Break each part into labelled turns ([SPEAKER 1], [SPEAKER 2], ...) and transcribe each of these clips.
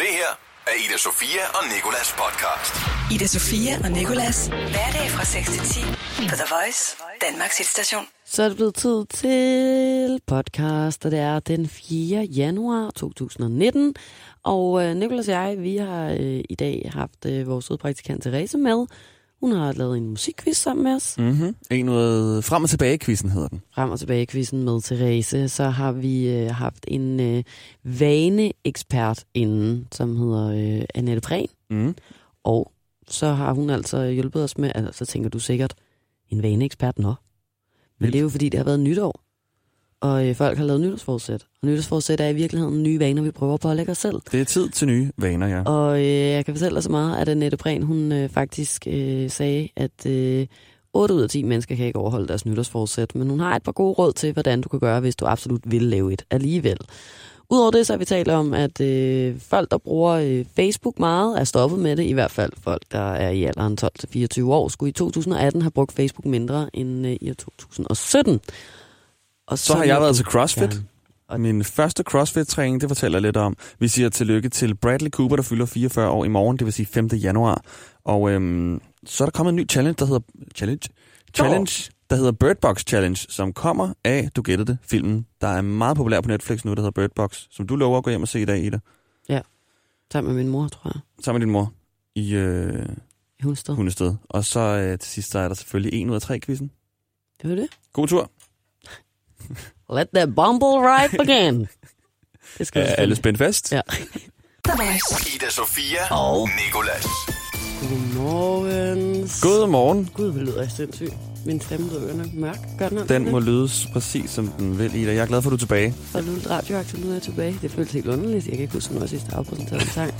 [SPEAKER 1] af Ida Sofia og Nikolas podcast.
[SPEAKER 2] Ida Sofia og Nikolas. Hverdag fra 6 til 10 på The Voice, Danmarks hitstation.
[SPEAKER 3] Så er det blevet tid til podcast, og det er den 4. januar 2019. Og øh, Nicolas og jeg, vi har øh, i dag haft øh, vores søde praktikant Therese med. Hun har lavet en musikquiz sammen med os. Mm.
[SPEAKER 4] En ud frem og tilbage quizzen hedder den.
[SPEAKER 3] Frem og tilbage quizzen med Therese. Så har vi øh, haft en øh, vaneekspert inden, som hedder øh, Annette Prehn.
[SPEAKER 4] Mm.
[SPEAKER 3] Og så har hun altså hjulpet os med, altså så tænker du sikkert, en vaneekspert nå. Men
[SPEAKER 4] Vildt.
[SPEAKER 3] det er jo fordi, det har været nytår, og øh, folk har lavet nytårsforsæt. Og nytårsforsæt er i virkeligheden nye vaner, vi prøver at pålægge os selv.
[SPEAKER 4] Det er tid til nye vaner, ja.
[SPEAKER 3] Og øh, jeg kan fortælle dig så meget, at Annette Prehn, hun øh, faktisk øh, sagde, at øh, 8 ud af 10 mennesker kan ikke overholde deres nytårsforsæt, men hun har et par gode råd til, hvordan du kan gøre, hvis du absolut vil lave et alligevel. Udover det, så har vi talt om, at øh, folk, der bruger øh, Facebook meget, er stoppet med det. I hvert fald folk, der er i alderen 12-24 år, skulle i 2018 have brugt Facebook mindre end øh, i år 2017. Og
[SPEAKER 4] Så har jeg været til CrossFit.
[SPEAKER 3] Ja.
[SPEAKER 4] Og min første CrossFit-træning, det fortæller jeg lidt om. Vi siger tillykke til Bradley Cooper, der fylder 44 år i morgen, det vil sige 5. januar. Og øhm, så er der kommet en ny challenge, der hedder... Challenge? Challenge, der hedder Bird Box Challenge, som kommer af, du gættede det, filmen, der er meget populær på Netflix nu, der hedder Bird Box, som du lover at gå hjem og se i dag, Ida.
[SPEAKER 3] Sammen med min mor, tror jeg.
[SPEAKER 4] Sammen med din mor i øh,
[SPEAKER 3] I Hundested.
[SPEAKER 4] Hundested. Og så øh, til sidst, der er der selvfølgelig en ud af tre quizzen.
[SPEAKER 3] Det var det.
[SPEAKER 4] God tur.
[SPEAKER 3] Let the bumble ride begin. det skal
[SPEAKER 4] Er
[SPEAKER 3] vi selvfølgelig.
[SPEAKER 4] alle spændt fast?
[SPEAKER 3] Ja.
[SPEAKER 2] The Voice.
[SPEAKER 1] Ida Sofia og Nikolas.
[SPEAKER 3] Godmorgens.
[SPEAKER 4] Godmorgen.
[SPEAKER 3] Gud, hvor lyder jeg sindssyg. Min stemme lyder nok mørk. Gør den om
[SPEAKER 4] Den må
[SPEAKER 3] lidt?
[SPEAKER 4] lyde præcis som den vil, Ida. Jeg er glad for, at du er tilbage.
[SPEAKER 3] For lyden radioaktivt, nu er jeg tilbage. Det føles helt underligt. Jeg kan ikke huske, hvornår jeg sidst har afpræsenteret en sang.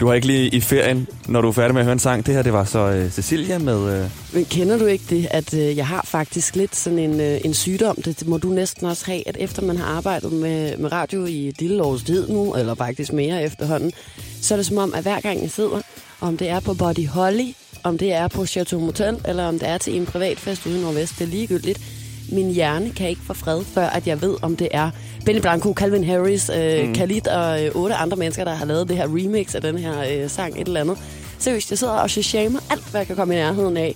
[SPEAKER 4] Du var ikke lige i ferien, når du er færdig med at høre en sang. Det her, det var så øh, Cecilia med... Øh,
[SPEAKER 3] Men kender du ikke det, at øh, jeg har faktisk lidt sådan en, øh, en sygdom, det må du næsten også have, at efter man har arbejdet med, med radio i et lille års tid nu, eller faktisk mere efterhånden, så er det som om, at hver gang jeg sidder, om det er på Body Holly, om det er på Chateau Motel, eller om det er til en privatfest ude i Nordvest, det er ligegyldigt. Min hjerne kan ikke få fred, før at jeg ved, om det er Benny Blanco, Calvin Harris, øh, mm. Khalid og øh, otte andre mennesker, der har lavet det her remix af den her øh, sang, et eller andet. Seriøst, jeg sidder og shamer alt, hvad jeg kan komme i nærheden af.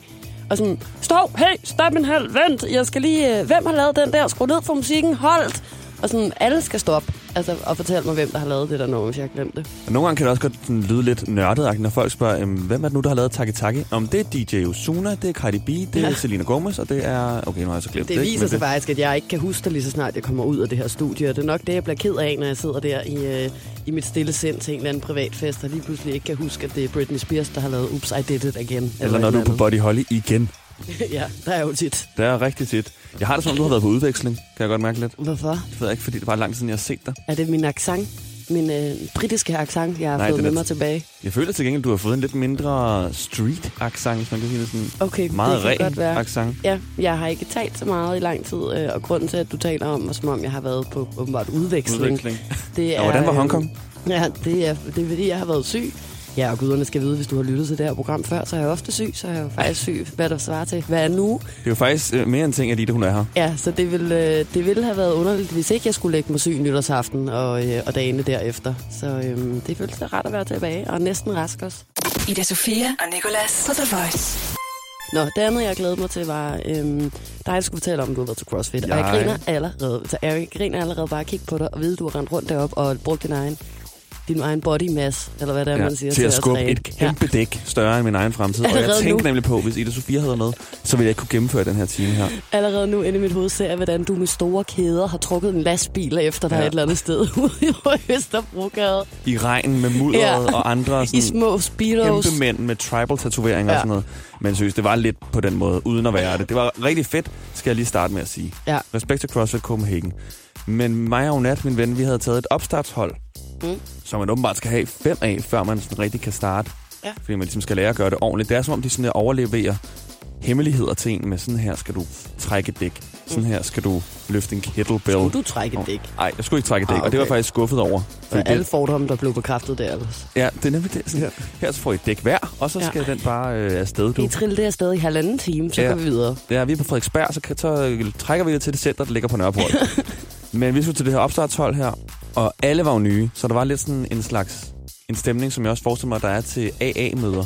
[SPEAKER 3] Og sådan, stop, hey, stop en halv, vent, jeg skal lige, øh, hvem har lavet den der, skru ned for musikken, holdt. Og sådan, alle skal stoppe, altså, og fortælle mig, hvem der har lavet det der nummer, hvis jeg har glemt det.
[SPEAKER 4] nogle gange kan det også godt sådan, lyde lidt nørdet, når folk spørger, øh, hvem er det nu, der har lavet Taki Taki? Om det er DJ Ozuna, det er Cardi B, det er
[SPEAKER 3] Ja.
[SPEAKER 4] ja. Selena Gomez, og det er... Okay, nu har jeg så glemt det.
[SPEAKER 3] Det
[SPEAKER 4] ikke?
[SPEAKER 3] viser
[SPEAKER 4] Men
[SPEAKER 3] sig faktisk, at jeg ikke kan huske det lige så snart, jeg kommer ud af det her studie. Og det er nok det, jeg bliver ked af, når jeg sidder der i, øh, i mit stille sind til en eller anden privatfest, og lige pludselig ikke kan huske, at det er Britney Spears, der har lavet Oops, I Did It Again.
[SPEAKER 4] Eller når
[SPEAKER 3] et
[SPEAKER 4] du er på
[SPEAKER 3] andet.
[SPEAKER 4] Body Holly igen.
[SPEAKER 3] ja, der er jo tit.
[SPEAKER 4] Det er rigtig tit. Jeg har det som om, du har været på udveksling. Kan jeg godt mærke lidt.
[SPEAKER 3] Hvorfor?
[SPEAKER 4] Det ved jeg ikke, fordi det var lang tid siden, jeg har set dig.
[SPEAKER 3] Er det min accent? Min øh, britiske accent, jeg har
[SPEAKER 4] Nej,
[SPEAKER 3] Nej, fået
[SPEAKER 4] den er
[SPEAKER 3] med mig
[SPEAKER 4] t-
[SPEAKER 3] tilbage.
[SPEAKER 4] Jeg føler til gengæld, du har fået en lidt mindre street-accent, hvis man kan sige det sådan.
[SPEAKER 3] Okay,
[SPEAKER 4] Meget
[SPEAKER 3] det kan godt være.
[SPEAKER 4] ren accent.
[SPEAKER 3] Ja, jeg har ikke talt så meget i lang tid, øh, og grunden til, at du taler om mig, som om jeg har været på åbenbart udveksling,
[SPEAKER 4] Udveksling.
[SPEAKER 3] det er...
[SPEAKER 4] Og hvordan var
[SPEAKER 3] øh,
[SPEAKER 4] Hongkong?
[SPEAKER 3] Ja, det er, det er fordi, jeg har været syg. Ja, og guderne skal vide, hvis du har lyttet til det her program før, så er jeg ofte syg, så er jeg jo faktisk syg, hvad der svarer til. Hvad er nu?
[SPEAKER 4] Det er jo faktisk øh, mere en ting, at Ida, hun er her.
[SPEAKER 3] Ja, så det ville, øh, det ville have været underligt, hvis ikke jeg skulle lægge mig syg nytårsaften og, øh, og dagene derefter. Så øh, det føles da rart at være tilbage, og næsten rask også.
[SPEAKER 2] Ida Sofia og Nikolas på The Voice.
[SPEAKER 3] Nå, det andet, jeg glæder mig til, var øhm, dig, der skulle fortælle om, at du har været til CrossFit. Jeg... Og jeg
[SPEAKER 4] Jeg-
[SPEAKER 3] griner allerede. Så jeg griner allerede bare at kigge på dig og vide, at du har rendt rundt derop og brugt din egen, din egen body mass, eller hvad det er, man siger.
[SPEAKER 4] til at skubbe
[SPEAKER 3] træne.
[SPEAKER 4] et kæmpe ja. dæk større end min egen fremtid. Og jeg
[SPEAKER 3] Allerede
[SPEAKER 4] tænkte
[SPEAKER 3] nu.
[SPEAKER 4] nemlig på, hvis Ida Sofia havde været med, så ville jeg ikke kunne gennemføre den her time her.
[SPEAKER 3] Ja, allerede nu inde i mit hoved ser jeg, hvordan du med store kæder har trukket en lastbil efter dig ja.
[SPEAKER 4] Ja.
[SPEAKER 3] et eller andet sted ude i Østerbrogade.
[SPEAKER 4] I regnen med mudderet
[SPEAKER 3] Ja.
[SPEAKER 4] ja. og andre
[SPEAKER 3] I
[SPEAKER 4] sådan,
[SPEAKER 3] små speedos.
[SPEAKER 4] kæmpe mænd med tribal
[SPEAKER 3] Ja.
[SPEAKER 4] tatoveringer ja. og sådan noget. Men seriøst, det var lidt på den måde, uden at være det. Det var rigtig fedt, skal jeg lige starte med at sige.
[SPEAKER 3] Ja.
[SPEAKER 4] Respekt til CrossFit Copenhagen. Men mig og Nat, min ven, vi havde taget et opstartshold,
[SPEAKER 3] Mm.
[SPEAKER 4] mm. som man åbenbart skal have fem af, før man sådan rigtig kan starte.
[SPEAKER 3] Ja.
[SPEAKER 4] Fordi man ligesom skal lære at gøre det ordentligt. Det er som om, de sådan der overleverer hemmeligheder til en med sådan her skal du trække et dæk. Sådan her skal du løfte en kettlebell.
[SPEAKER 3] Skulle Mm. du trække et dæk?
[SPEAKER 4] Nej, jeg skulle ikke trække et dæk,
[SPEAKER 3] Ah,
[SPEAKER 4] ah, okay. og det var
[SPEAKER 3] okay.
[SPEAKER 4] jeg faktisk skuffet over.
[SPEAKER 3] For
[SPEAKER 4] Fordi
[SPEAKER 3] alle
[SPEAKER 4] det,
[SPEAKER 3] fordomme, der blev bekræftet der ellers.
[SPEAKER 4] ja, det er nemlig det. Sådan, her så får I et dæk hver, og så
[SPEAKER 3] Ja.
[SPEAKER 4] skal den bare øh, afsted.
[SPEAKER 3] Vi
[SPEAKER 4] Du.
[SPEAKER 3] trillede det afsted i halvanden time, så ja.
[SPEAKER 4] Ja.
[SPEAKER 3] går vi videre.
[SPEAKER 4] Ja, vi er på Frederiksberg, så, kan- så øh, trækker vi det til det center, der ligger på Nørreport. Men vi skulle til det her opstartshold her, og alle var jo nye, så der var lidt sådan en slags en stemning, som jeg også forestiller mig, der er til AA-møder.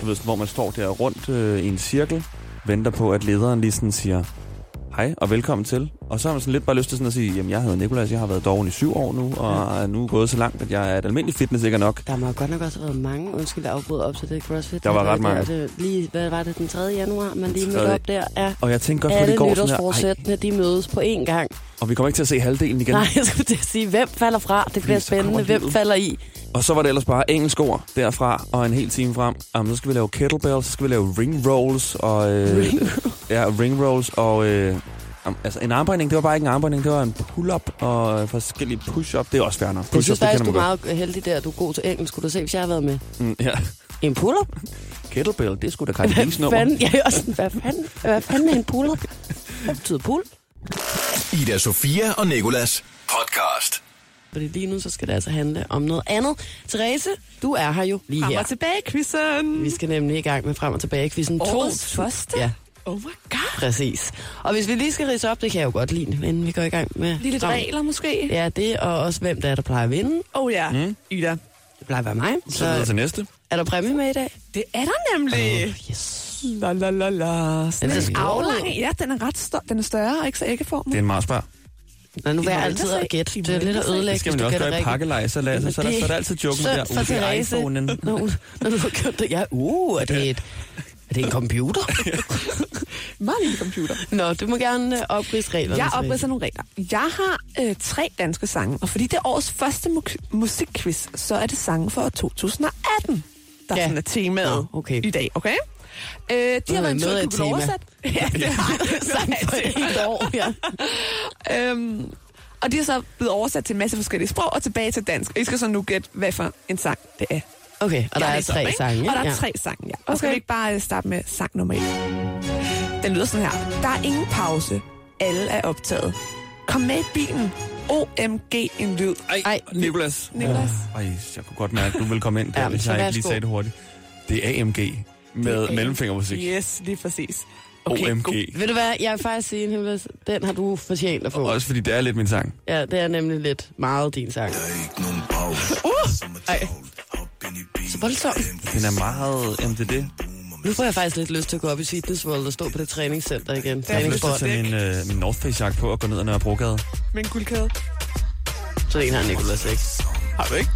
[SPEAKER 4] Du ved, sådan, hvor man står der rundt øh, i en cirkel, venter på, at lederen lige sådan siger, hej og velkommen til. Og så har man sådan lidt bare lyst til sådan at sige, jamen jeg hedder Nikolas, jeg har været doven i syv år nu, og er nu gået så langt, at jeg er et almindeligt fitness ikke er nok.
[SPEAKER 3] Der må jo godt nok også have været mange, undskyld, der afbrød op til det CrossFit.
[SPEAKER 4] Der var
[SPEAKER 3] har
[SPEAKER 4] ret
[SPEAKER 3] været
[SPEAKER 4] mange.
[SPEAKER 3] Der, det, lige, hvad var det, den 3. januar, man lige mødte
[SPEAKER 4] tredje.
[SPEAKER 3] op der? Ja.
[SPEAKER 4] Og jeg tænkte godt på det i
[SPEAKER 3] Alle
[SPEAKER 4] går, sådan der,
[SPEAKER 3] nytårsforsættene, de mødes på én gang.
[SPEAKER 4] ej, og vi kommer ikke til at se halvdelen igen.
[SPEAKER 3] Nej, jeg skulle til at sige, hvem falder fra? Det bliver
[SPEAKER 4] Fordi så kommer
[SPEAKER 3] spændende. Hvem
[SPEAKER 4] livet.
[SPEAKER 3] falder i?
[SPEAKER 4] Og så var det ellers bare engelsk ord derfra, og en hel time frem. Jamen, så skal vi lave kettlebells, så skal vi lave ring rolls, og... Øh,
[SPEAKER 3] Ring
[SPEAKER 4] Ja, ring rolls, og... Øh, am- altså, en armbøjning, det var bare ikke en armbøjning, det var en pull-up og øh, forskellige push-up. Det er også fair nok.
[SPEAKER 3] Jeg
[SPEAKER 4] Push-up,
[SPEAKER 3] synes faktisk, du
[SPEAKER 4] kender
[SPEAKER 3] er meget heldig der. Du er god til engelsk. Skulle du se, hvis jeg havde været med?
[SPEAKER 4] godt. Mm, ja.
[SPEAKER 3] En pull-up?
[SPEAKER 4] Kettlebell, det skulle da Cardi B's
[SPEAKER 3] Hvad
[SPEAKER 4] nummer.
[SPEAKER 3] fanden? Jeg er også sådan, hvad fanden, hvad fanden er en pull-up? Hvad betyder pull?
[SPEAKER 1] Ida Sofia og Nikolas podcast.
[SPEAKER 3] Fordi lige nu, så skal det altså handle om noget andet. Therese, du er her jo lige
[SPEAKER 5] Frem
[SPEAKER 3] her.
[SPEAKER 5] og tilbage, Christian.
[SPEAKER 3] Vi skal nemlig i gang med frem og tilbage quizzen
[SPEAKER 5] Årets første?
[SPEAKER 3] Ja,
[SPEAKER 5] Oh my god.
[SPEAKER 3] præcis. Og hvis vi lige skal rise op, det kan jeg jo godt lide, inden vi går i gang med...
[SPEAKER 5] Lige lidt
[SPEAKER 3] Nå.
[SPEAKER 5] regler måske.
[SPEAKER 3] Ja, det, og også hvem der er, der plejer at vinde.
[SPEAKER 5] Oh ja, mm. Ida.
[SPEAKER 3] Det plejer at være mig.
[SPEAKER 4] Så videre
[SPEAKER 3] Så
[SPEAKER 4] til næste.
[SPEAKER 3] er der præmie med i dag?
[SPEAKER 5] Det er der nemlig. Oh.
[SPEAKER 3] Yes.
[SPEAKER 5] La la la la. Sådan
[SPEAKER 3] Den er
[SPEAKER 5] en
[SPEAKER 3] stor.
[SPEAKER 5] aflang. Ja, den er ret stor. Den er større, ikke så æggeformet.
[SPEAKER 4] Det er en marspar.
[SPEAKER 3] Nå, nu
[SPEAKER 5] I
[SPEAKER 3] vil jeg
[SPEAKER 5] må
[SPEAKER 3] altid
[SPEAKER 5] ældre
[SPEAKER 3] at gætte.
[SPEAKER 5] sig. I
[SPEAKER 3] Det er
[SPEAKER 5] må
[SPEAKER 3] lidt at
[SPEAKER 5] ældre sig.
[SPEAKER 3] ødelægge,
[SPEAKER 4] Det skal
[SPEAKER 3] hvis
[SPEAKER 4] man
[SPEAKER 3] du
[SPEAKER 4] jo også
[SPEAKER 3] gætter
[SPEAKER 4] gøre i
[SPEAKER 3] rigtigt.
[SPEAKER 4] pakkelej, så, lad, så, så, er der, så er der altid joken med
[SPEAKER 3] Synd
[SPEAKER 4] der,
[SPEAKER 3] for
[SPEAKER 4] uh, det er
[SPEAKER 3] Therese.
[SPEAKER 4] iPhone'en.
[SPEAKER 3] Når hun, når du har købt det. Ja, uh, er det et, er det en computer?
[SPEAKER 5] Meget lille computer.
[SPEAKER 3] Nå, du må gerne øh, opridse reglerne.
[SPEAKER 5] Jeg
[SPEAKER 3] Therese.
[SPEAKER 5] opridser nogle regler. Jeg har øh, tre danske sange, og fordi det er årets første mu- musikquiz, så er det sange for år 2018, der
[SPEAKER 3] Ja.
[SPEAKER 5] ja. sådan er temaet
[SPEAKER 3] Nå, okay.
[SPEAKER 5] i dag, okay? Øh, de har været en tur,
[SPEAKER 3] noget af et
[SPEAKER 5] Google
[SPEAKER 3] tema.
[SPEAKER 5] oversat. Ja, det har
[SPEAKER 3] Sådan for
[SPEAKER 5] Noget af et tema.
[SPEAKER 3] et år, ja.
[SPEAKER 5] Øhm, og de er så blevet oversat til en masse forskellige sprog og tilbage til dansk. Og I skal så nu gætte, hvad for en sang det er.
[SPEAKER 3] Okay, og der
[SPEAKER 5] Jeg
[SPEAKER 3] er
[SPEAKER 5] læser op,
[SPEAKER 3] tre
[SPEAKER 5] ikke?
[SPEAKER 3] sange.
[SPEAKER 5] Og der er
[SPEAKER 3] ja.
[SPEAKER 5] tre sange, ja. Og skal
[SPEAKER 3] Okay.
[SPEAKER 5] vi ikke bare øh, starte med sang nummer et? Den lyder sådan her. Der er ingen pause. Alle er optaget. Kom med i bilen. OMG en lyd.
[SPEAKER 4] Ej, Nicolas.
[SPEAKER 5] Nicolas.
[SPEAKER 4] Ej, jeg kunne godt mærke, at du ville komme ind der,
[SPEAKER 3] Ja,
[SPEAKER 4] ja,
[SPEAKER 3] men
[SPEAKER 4] hvis
[SPEAKER 3] så
[SPEAKER 4] jeg ikke
[SPEAKER 3] værsgo.
[SPEAKER 4] lige sagde det hurtigt. Det er AMG med mellemfingermusik.
[SPEAKER 5] Yes, lige præcis.
[SPEAKER 4] OMG.
[SPEAKER 5] god.
[SPEAKER 3] Ved du hvad, jeg vil faktisk sige, Nicolas, den har du fortjent at få.
[SPEAKER 4] Også fordi det er lidt min sang.
[SPEAKER 3] Ja, det er nemlig lidt meget din sang.
[SPEAKER 6] Uh!
[SPEAKER 3] Så voldsomt.
[SPEAKER 4] Den er meget MDD.
[SPEAKER 3] Nu får jeg faktisk lidt lyst til at gå op i Fitness World og stå på det træningscenter igen.
[SPEAKER 4] Jeg har lyst til at
[SPEAKER 3] Træningsbånd.
[SPEAKER 4] tage min, øh, min North Face-jakke på og gå ned ad Nørrebrogade.
[SPEAKER 5] Men guldkæde.
[SPEAKER 3] Sådan en har Nicolas ikke.
[SPEAKER 4] Har du ikke?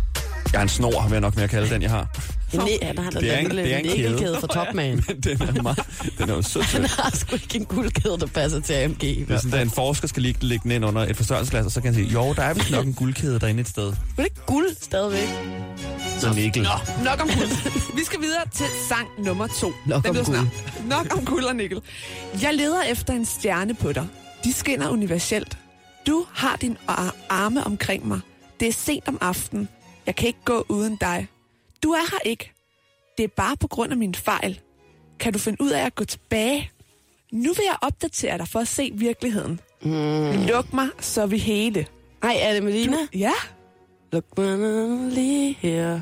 [SPEAKER 4] Jeg har en snor, vil jeg nok mere kalde den, jeg har.
[SPEAKER 3] En ne- han har da
[SPEAKER 4] Det er en-
[SPEAKER 3] lille-
[SPEAKER 4] det er en kæde.
[SPEAKER 3] æggelkæde fra Topman.
[SPEAKER 4] Men den er, meget, den er jo sød. sød.
[SPEAKER 3] Han har sgu ikke en guldkæde, der passer til AMG. i
[SPEAKER 4] Det er
[SPEAKER 3] hvert fald.
[SPEAKER 4] sådan, at en forsker skal ligge, ligge den ind under et forstørrelsesglas, og så kan han sige, jo, der er vist nok en guldkæde derinde et sted.
[SPEAKER 3] Men det er guld stadigvæk.
[SPEAKER 4] Så Mikkel.
[SPEAKER 5] Nok om guld. Vi skal videre til sang nummer to.
[SPEAKER 3] Nok om
[SPEAKER 5] lyder sådan her. Nok om guld og nikkel. Jeg leder efter en stjerne på dig. De skinner universelt. Du har din ar- arme omkring mig. Det er sent om aftenen. Jeg kan ikke gå uden dig. Du er her ikke. Det er bare på grund af min fejl. Kan du finde ud af at gå tilbage? Nu vil jeg opdatere dig for at se virkeligheden. Mm. Luk mig, så er vi hele.
[SPEAKER 3] Ej, er det Melina?
[SPEAKER 5] Ja.
[SPEAKER 3] Look man lige her.